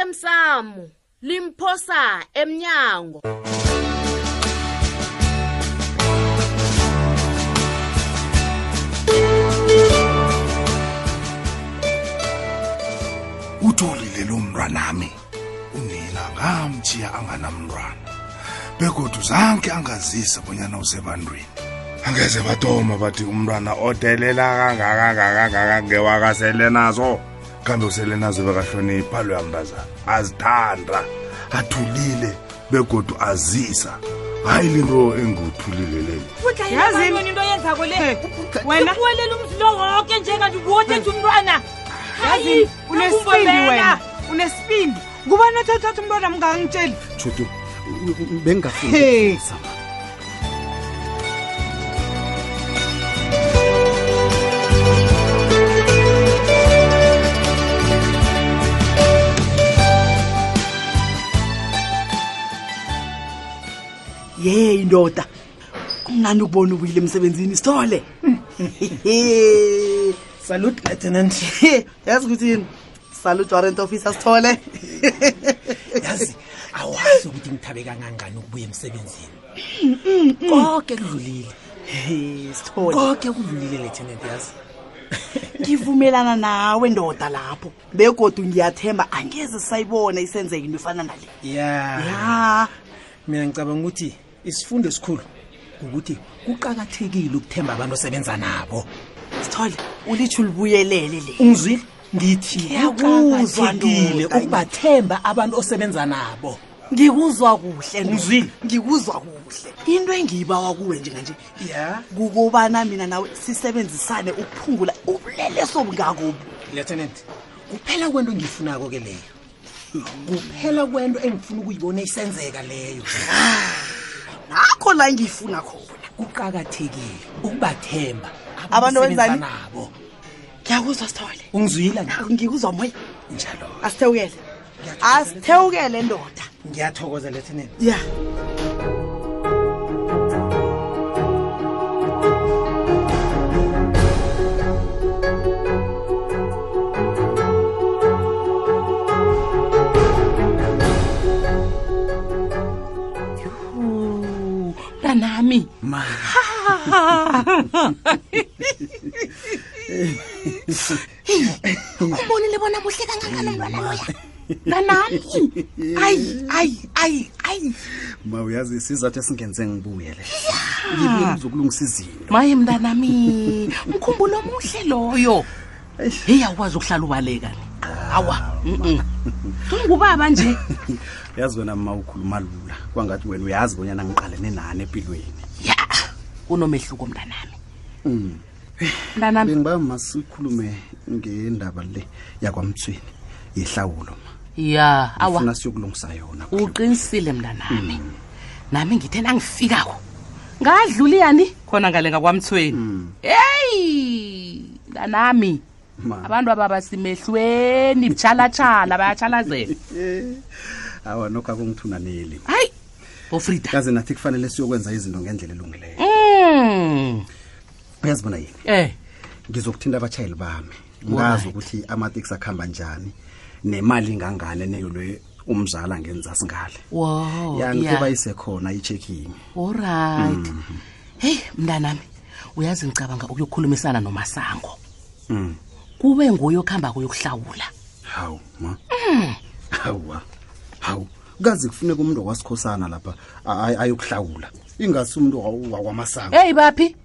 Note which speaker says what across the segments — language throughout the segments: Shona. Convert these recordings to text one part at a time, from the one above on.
Speaker 1: lasemsamo limphosa emnyango
Speaker 2: utholile lo mntwanami unila ngamtshiya anganamntwana begodu zanke angazisa bonyana usebantwini angeze batoma bathi umntwana odelela kangakangakangaka ngewakaselinazo kambe uselenazo bekahlonipha loya mntazana azithanda athulile begodu azisa hayi linto enguthulile leli
Speaker 3: Yazi-
Speaker 4: udlaeaoni into yenzako le
Speaker 3: wena-
Speaker 4: uwelela umzi lo woke njenganje uboteje umntwana
Speaker 3: yazi
Speaker 4: hayi
Speaker 3: unesipindi wena unesipindi kubani othathatha umntwana mngangitsheli
Speaker 5: tshutu bengingafuni
Speaker 3: Hey.
Speaker 5: zama
Speaker 6: yeyi ndoda kumnandi ukubona ubuyile emsebenzini sithole
Speaker 7: salut lieutenant
Speaker 6: yazi ukuthini salute warrant officer sithole
Speaker 7: yazi awazi ukuthi ngithabe kangangani ukubuya emsebenzini konke kudlulile
Speaker 6: He, sithole
Speaker 7: konke kudlulile lieutenant yazi
Speaker 6: ngivumelana nawe ndoda lapho begodu ngiyathemba angeze sayibona isenzeka into efana nale
Speaker 7: ya
Speaker 6: ya
Speaker 7: mina ngicabanga ukuthi isifundo esikhulu ukuthi kuqakathekile ukuthemba abantu osebenza nabo
Speaker 6: sithole ulitsho ulibuyelele le
Speaker 7: ungizwile ngithi
Speaker 6: Ngiyakuzwa,
Speaker 7: kuqakathekile
Speaker 6: ndoda.
Speaker 7: ukubathemba abantu osebenza nabo
Speaker 6: ngikuzwa kuhle ndoda.
Speaker 7: Uzwile?
Speaker 6: ngikuzwa kuhle into engiyibawa kuwe njenganje
Speaker 7: ya
Speaker 6: kukobana mina nawe sisebenzisane ukuphungula ubuleleso bungakobu
Speaker 7: lieutenant kuphela kwento engiyifunako ke leyo kuphela kwento engifuna ukuyibona isenzeka leyo
Speaker 6: nakho la ngiyifuna khona
Speaker 7: kuqakathekile ukubathemba
Speaker 6: Abantu benzani?
Speaker 7: nabo
Speaker 6: ngiyakuzwa sithole
Speaker 7: ungizwila
Speaker 6: ngikuzwa moya
Speaker 7: njalo
Speaker 6: asithewukele asithewukele ndoda
Speaker 7: ngiyathokoza lieutenant
Speaker 6: ya
Speaker 4: mntanami umbonile bona muhle kangangani umntwana loya mntanami
Speaker 5: ayi ayi ayi ayi ma uyazi isizathu esingenze ngibuye le ngibuyele uzokulungisa izinto
Speaker 4: maye mntanami mkhumbulo omuhle loyo heyi awukwazi ukuhlala ubaleka ni awa
Speaker 5: Ah,
Speaker 4: mm-mm. ungubaba nje
Speaker 5: yazi wena ma ukhuluma lula kwangathi wena uyazi bonyana ngiqalene nani empilweni
Speaker 4: ya kunomehluko mntanami
Speaker 5: Hmm.
Speaker 4: mntanami
Speaker 5: bengiba masikhulume ngendaba le yakwamthweni yehlawulo ma
Speaker 4: ya awa
Speaker 5: funa siyokulungisa yona
Speaker 4: uqinisile mntanami nami ngithe nangifikako ngadluli yani khona ngalenga kwamthweni heyi mntanami
Speaker 5: Ma.
Speaker 4: abantu ababasemehlweni butshalatshala bayatshalazela
Speaker 5: awa nokho akungithunaneli
Speaker 4: hayi bofrida
Speaker 5: kaze nathi kufanele siyokwenza izinto ngendlela elungileyo
Speaker 4: um
Speaker 5: uyazi bona yini
Speaker 4: eh
Speaker 5: ngizokuthinta abashayeli bami
Speaker 4: Alright.
Speaker 5: ngazi ukuthi amateksi akuhamba njani nemali ingangane neyolwe umzala ngenza singale
Speaker 4: wow
Speaker 5: ya
Speaker 4: ya.
Speaker 5: ngikuba isekhona i-checking
Speaker 4: olright
Speaker 5: Mhm.
Speaker 4: heyi mntanami uyazi ngicabanga ukuyokhulumisana nomasango
Speaker 5: Mm.
Speaker 4: kube nguye okuhamba kuyokuhlawula
Speaker 5: hawu ma hawa hawu kazi kufuneka umuntu wakwasikhosana lapha a- ay- ayokuhlawula ingasi umuntu wa- wakwamasango
Speaker 4: eyi baphi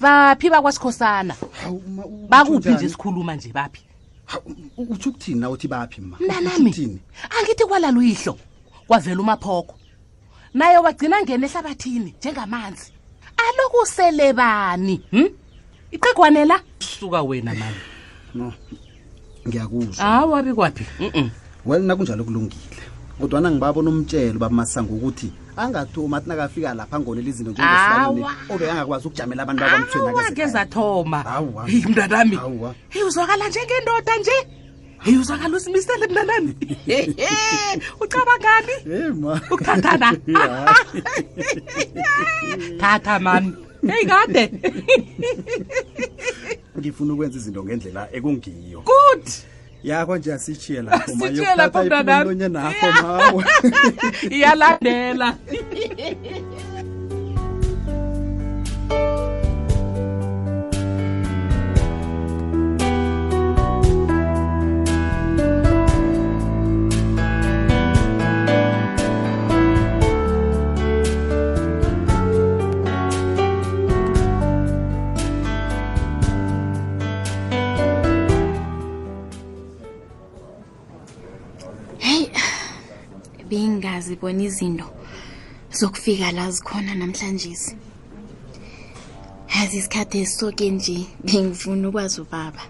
Speaker 4: baphi bakwasikhosana
Speaker 5: hawu ma, u-
Speaker 4: bakuphi
Speaker 5: utjho
Speaker 4: nje
Speaker 5: njani?
Speaker 4: sikhuluma nje baphi
Speaker 5: Hawu, u- utsho ukuthini na uthi baphi ma Utjho
Speaker 4: mntanami angithi kwalala uyihlo kwavela umaphoko naye wagcina ngena ehlabathini njengamanzi alokusele bani hm iqegwane la suka wena mani
Speaker 5: no ngiyakuzwa
Speaker 4: awabi kwaphi Mm-mm.
Speaker 5: well nakunjalo kulungile kodwana ngibabona umtshelo bamasango ukuthi angathomi athi nakafika lapha angonela izinto njengesilwaneni
Speaker 4: Awa.
Speaker 5: obekangakwazi ukujamela abantu
Speaker 4: awake zathoma
Speaker 5: Awa.
Speaker 4: heyi mntanami
Speaker 5: Awa.
Speaker 4: heyi uzwakala njengendoda nje heyi uzwakala usimisele mntanami ucabangani ukuthathana thatha mami heyi kade
Speaker 5: ngifuna ukwenza izinto ngendlela ekungiyo
Speaker 4: good
Speaker 5: yakho nje asitshiye lapho ma,
Speaker 4: Asitshiye
Speaker 5: yokuthatha
Speaker 4: lapho, mntanami.
Speaker 5: iphumulo enye nakho mawe
Speaker 4: iyalandela
Speaker 8: heyi bengingazibona izinto zokufika la zikhona namhlanje yazi isikhathi esisoke nje bengifuna ukwazi ubaba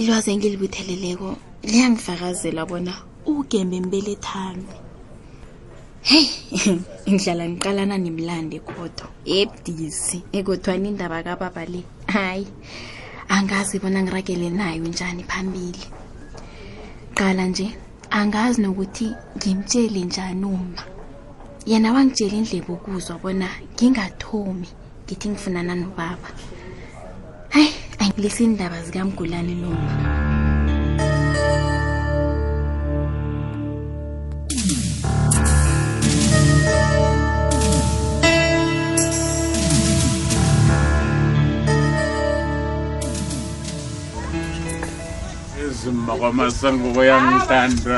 Speaker 8: ilwazi engilibutheleleko liyangifakazela bona ugembe mbelethami heyi ngihlala ngiqalana nemlandi kodwa ebudisi ekothwani indaba kababa le hayi angazi bona ngiragele nayo njani phambili qala nje angazi nokuthi ngimtshele njani uma yena wangitshela indlebe ukuzwa bona ngingathomi ngithi ngifunana nobaba hayi angilisi indaba zikamgulane noma
Speaker 9: izimba kwamasanguko yangithanda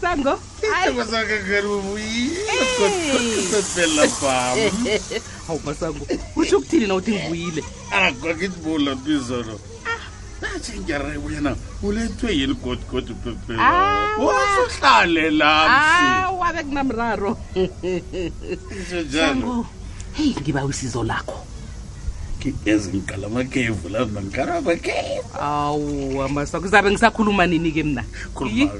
Speaker 3: sango
Speaker 9: isihlobo sakhe kerubuyilesepela bam
Speaker 4: hawu masango utsho ukuthini na uthi ngibuyile
Speaker 9: akwakitibula bizolo natshingereko yena ulethwe yini godigodi pepela
Speaker 4: Ah,
Speaker 9: wasuhlale lapsi
Speaker 4: awabe kunamraro
Speaker 9: isho njalo
Speaker 4: heyi ngiba usizo lakho
Speaker 9: ngeze ngiqala amakhevu lazi nangiqala amakhevu
Speaker 4: awu amasango zabe ngisakhuluma nini-ke mna
Speaker 9: khuluma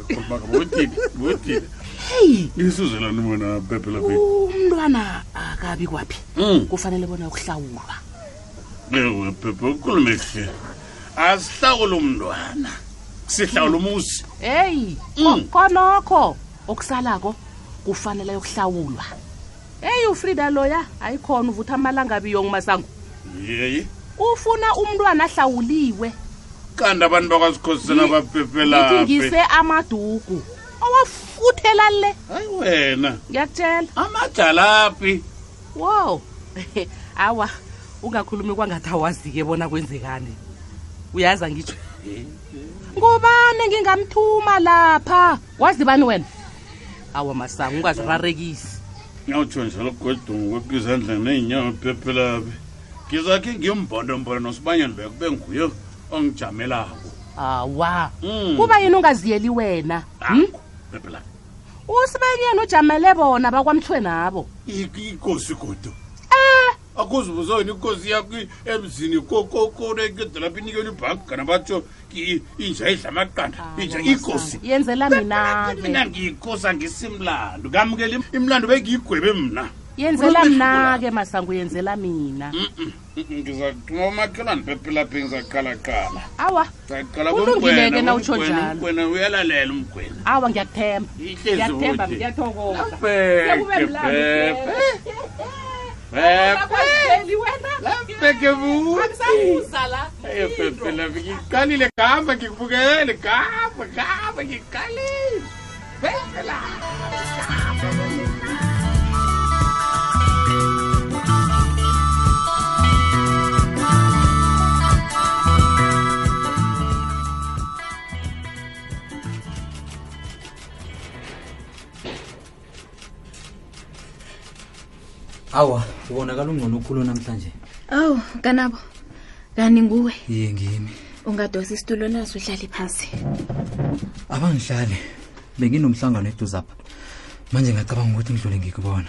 Speaker 9: bothini bothini
Speaker 4: heyi
Speaker 9: isuzelani wena pepela pe
Speaker 4: umntwana akabi kwaphi
Speaker 9: Mm.
Speaker 4: kufanele bona ukuhlawulwa
Speaker 9: ewe pepe ukhulume kuhle asihlawula umntwana sihlawula umuzi
Speaker 4: heyi
Speaker 9: Mm.
Speaker 4: konokho okusalako kufanele ukuhlawulwa heyi ufrida loya ayikhona uvuthi amalangabiyongo masango
Speaker 9: yeyi
Speaker 4: ufuna umntwana ahlawuliwe
Speaker 9: kanti abantu bakwasikhosisana baphephelaphi
Speaker 4: ngithingise amadugu owafuthela le
Speaker 9: hayi wena
Speaker 4: ngiyakutshela
Speaker 9: amadalaphi
Speaker 4: wo awa ungakhulumi kwangathi awazi-ke bona kwenzekani uyazi angitsho ngubani ngingamthuma lapha wazi bani wena awa masango ungazirarekisi
Speaker 9: ngawutsho njalo godungu kwepizandla neenyawo phephelaphi ngizakhe ngiyombonombono nosibanyeni beko kube nguye ongijamelako
Speaker 4: awa
Speaker 9: Mm.
Speaker 4: kuba yini ungaziyeli wena
Speaker 9: Ah.
Speaker 4: Hmm?
Speaker 9: phephelaphi
Speaker 4: usibenyeni ujamele bona bakwamthwe nabo
Speaker 9: ikosi godu akuzibuza wena ikosi yakho i- emzini kokokonekedalapha inikela ibhaki kana batsho ki- inja idla amaqanda inja ikosi
Speaker 4: yenzela mina-ke
Speaker 9: mina ngiyikosi angisimlando kamukela imlando bengiyigwebe mna
Speaker 4: yenzela
Speaker 9: Ukhuluma
Speaker 4: mina-ke masango yenzela mina
Speaker 9: ngizaquma umakhelwane phephelaphi ngizaqalaqala
Speaker 4: awa
Speaker 9: ngizaqala
Speaker 4: Kulungile-ke nawutsho njalo.
Speaker 9: umgwena uyalalela umgwena
Speaker 4: awa ngiyakuthemba ngiyakuthemba ngiyathokoza Sekube mlando,
Speaker 9: phephelaphi ngiqalile ngihamba ngikubukele ngihamba ngihamba ngiqalile phephelaphi
Speaker 10: awa ubonakala ungcono okhulu namhlanje
Speaker 8: awu kanabo kanti nguwe
Speaker 10: iye ngimi
Speaker 8: ungadosa isitulo naso uhlale phasi
Speaker 10: abangihlali benginomhlangano eduzapha manje ngacabanga ukuthi ngidlule ngikubona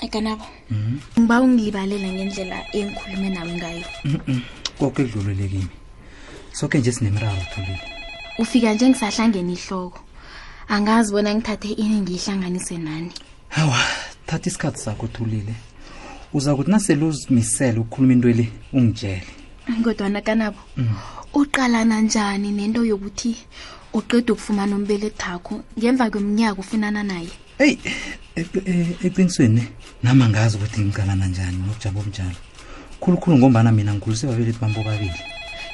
Speaker 8: ayi kanabo ngiba ungilibalela ngendlela engikhulume nawe ngayo
Speaker 10: Mm-mm, koke kudlulele kimi soke nje sinemiraro thulile
Speaker 8: ufika nje ngisahlangene ihloko angazi bona ngithathe ini ngiyihlanganise nani
Speaker 10: hawa thatha isikhathi sakho thulile uza kuthi nasele uzimisele ukukhuluma into le ungitshele
Speaker 8: kodwana kanabo uqalana njani nento yokuthi uqeda ukufumana umbelethakho ngemva kweminyaka ufunana naye
Speaker 10: eyi eqi- e- eqinisweni nami angazi ukuthi ngimgalana njani nobujabo omnjalo khulukhulu ngombana mina ngikhulise babelethu bami bobabili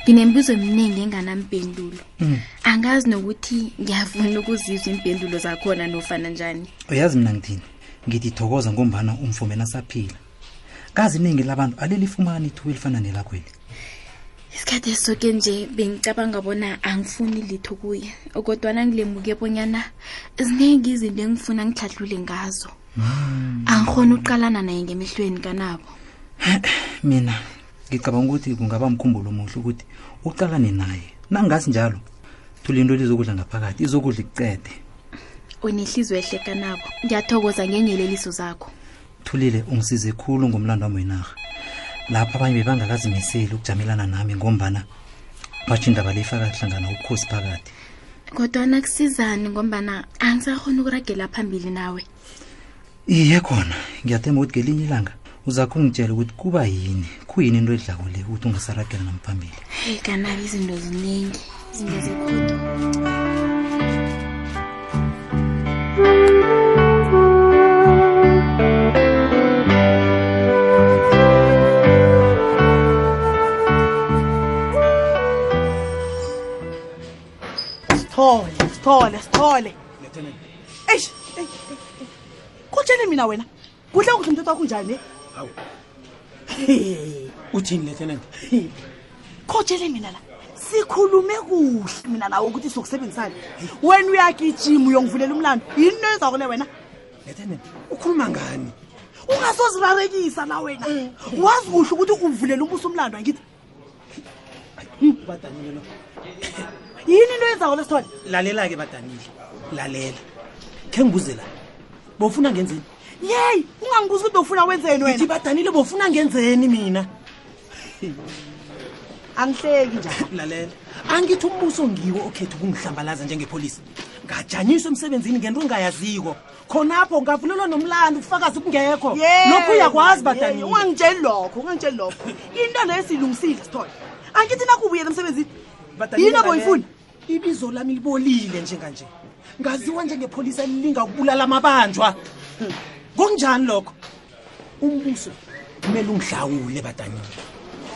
Speaker 8: nginemibuzo eminingi enganampendulo
Speaker 10: Mm.
Speaker 8: angazi nokuthi ngiyafuna ukuzizwa iimpendulo zakhona nofana njani
Speaker 10: uyazi mina ngithini ngithi thokoza ngombana umfumeni asaphila kazi iningi labantu alilifumani ithuba elifana nelakweli
Speaker 8: isikhathi esisoke nje bengicabanga bona angifuni litho kuye kodwana ngilemuke bonyana ziningi izinto engifuna ngitlhatlule ngazo angikhona ukuqalana naye ngemehlweni kanabo
Speaker 10: mina ngicabanga ukuthi kungaba mkhumbulo omuhle ukuthi uqalane naye nangasi njalo thula into lizokudla ngaphakathi izokudla ikucede
Speaker 8: unehlizwe ehle kanabo ngiyathokoza ngenyeleliso zakho
Speaker 10: thulile ungisize khulu ngomlando wami wenarha lapho abanye bebangakazimiseli ukujamelana nami ngombana batsho indaba leyifaka hlangana ubukhosi phakathi
Speaker 8: kodwana kusizani ngombana angisakhona ukuragela phambili nawe
Speaker 10: iye khona ngiyathemba ukuthi ngelinye ilanga uzakho ungitshela ukuthi kuba yini kuyini into edlako le ukuthi ungasaragela namphambili
Speaker 8: heyi kanabo izinto ziningi zingezekhulu
Speaker 6: sithole sithole sithole eish eyi, eyi, eyi. kutshele mina wena kuhle kuhle umthetho wakho njani
Speaker 7: hawu uthini lieutenant
Speaker 6: kotshele mina la sikhulume kuhle mina nawe ukuthi sokusebenzisana wena uyagijima uyongivulela umlando yini into ezakule wena
Speaker 7: lieutenant ukhuluma ngani
Speaker 6: ungasozirarekisa la wena wazi kuhle ukuthi uvulela umbuso umlando angithi Hmm.
Speaker 7: badanile
Speaker 6: yini into yenzako lesithole
Speaker 7: lalela-ke badanile lalela khe ngibuze la bofuna ngenzeni
Speaker 6: yeyi ungangibuza ukuthi ufuna wenzeni
Speaker 7: ithi badanile bofuna ngenzeni mina
Speaker 6: angihleki njani
Speaker 7: lalela angithi umbuso ngiwo okhetha ukungihlambalaza njengepholisa ngajanyiswa emsebenzini ngento engayaziko khonapho ngavulelwa nomlando ubufakazi kungekho lokhu uyakwazi badanile
Speaker 6: ungangitsheli lokho ungangitsheli lokho into leyo siyilungisile sithole angithi nakubuyela emsebenzini
Speaker 7: Badanile,
Speaker 6: yini
Speaker 7: lalela.
Speaker 6: aboyifuna
Speaker 7: ibizo lami libolile njenganje ngaziwa njengepholisa elilinga ukubulala amabanjwa kunjani lokho umbuso kumele ungihlawule badanile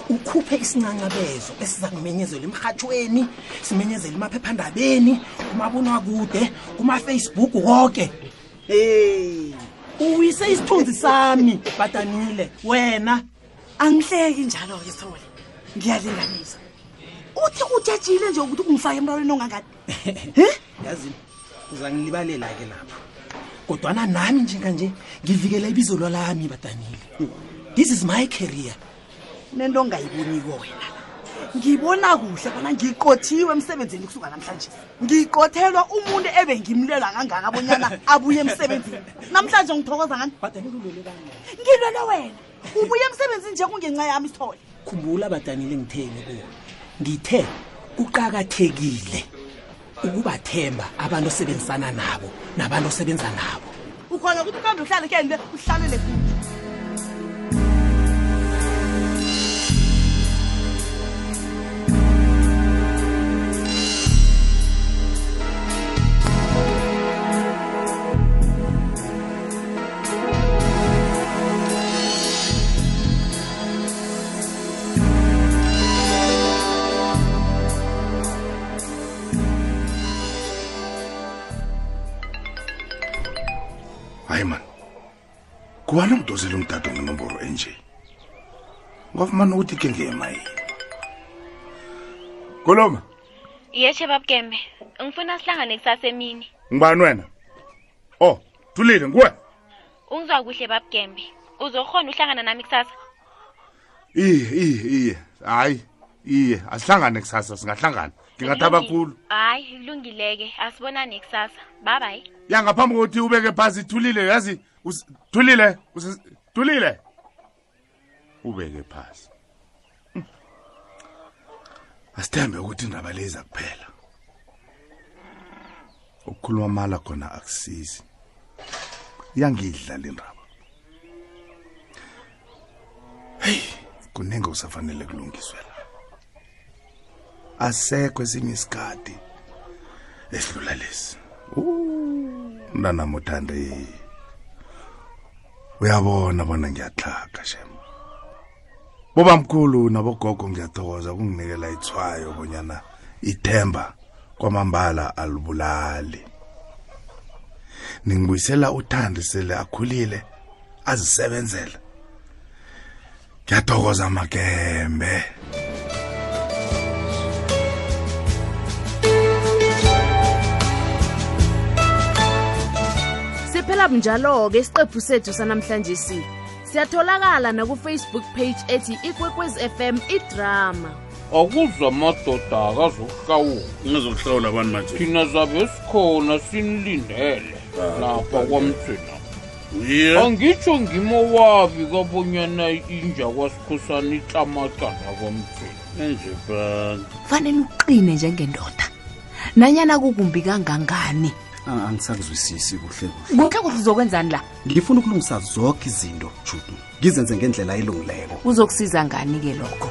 Speaker 7: ukhuphe isincancabezo esiza kumenyezelwa emrhatshweni simenyezele emaphephandabeni kumabonwakude kumafacebook konke
Speaker 6: hey
Speaker 7: uwise isithunzi sami badanile wena
Speaker 6: angihleki njalo-ke sithole ngiyalinganisa uthi utshejile nje ukuthi ungifake emrawleni ongangani
Speaker 7: yazini uzangilibalela-ke lapho kodwana nami njenganje ngivikela ibizo lwalami badanile this is my career
Speaker 6: nento ongayiboniko wena ngibona kuhle bona ngiqothiwe emsebenzini kusuka namhlanje ngiqothelwa umuntu ebengimlelwa kangaka abonyana abuye emsebenzini namhlanje ngithokoza ngani
Speaker 7: badanile ulwele bani
Speaker 6: ngilwele wena ubuye emsebenzini nje kungenxa yami isithole
Speaker 7: khumbula badanile ngitheni kuwo ngithe kuqakathekile ukubathemba abantu osebenzisana nabo nabantu osebenza nabo
Speaker 6: ukhona ukuthi ukambe uhlale kende uhlalele kuyo
Speaker 2: hayi mani kubani umdozela umdado ngenomboro enje ngafumana ukuthi ke ngiyemayini koloma
Speaker 11: yeshe babukeme ngifuna sihlangane kusasa emini
Speaker 2: ngibani wena oh thulile nguwe
Speaker 11: ungizwa kuhle babukembe uzokhona uhlangana nami kusasa
Speaker 12: iye iye iye hayi iye asihlangane kusasa singahlangana ngingathaba khulu
Speaker 11: hayi kulungileke asibonane kusasa babayi
Speaker 12: ya ngaphambi kokuthi ubeke phasi thulile yazi usi- thulile usi- thulile ubeke phasi
Speaker 2: asithembe ukuthi indaba le iza kuphela ukukhuluma amala khona akusizi iyangidla le ndaba heyi kuningi kusafanele kulungiswe la asekho esinye isikhathi esidlula lesi Uh. mntanam uthande uyabona bona ngiyatlhaga shem bobamkhulu nabogogo ngiyathokoza kunginikela ithwayo bonyana ithemba kwamambala alibulali ningibuyisela uthandi sele akhulile azisebenzela ngiyathokoza magembe
Speaker 1: siphela bunjalo-ke isiqephu sethu sanamhlanje si siyatholakala nakufacebook page ethi ikwekwez fm idrama
Speaker 9: akuzwa amadoda akazokuhlawula
Speaker 13: ngizokuhlawula abantu manje
Speaker 9: thina zabe sikhona sinilindele
Speaker 13: Ah,
Speaker 9: lapha kwamtswena
Speaker 13: Iye.
Speaker 9: angitsho ngimowabi kabonyana inja kwasikhosana itlamacala kwamtswena
Speaker 13: enje bani
Speaker 14: fanele uqine njengendoda nanyana kukumbi kangangani
Speaker 5: Ah, angisakuzwisisi kuhle kuhle
Speaker 14: kuhle kuhle uzokwenzani la
Speaker 5: ngifuna ukulungisa zonke izinto judu ngizenze ngendlela elungileko
Speaker 14: uzokusiza ngani-ke lokho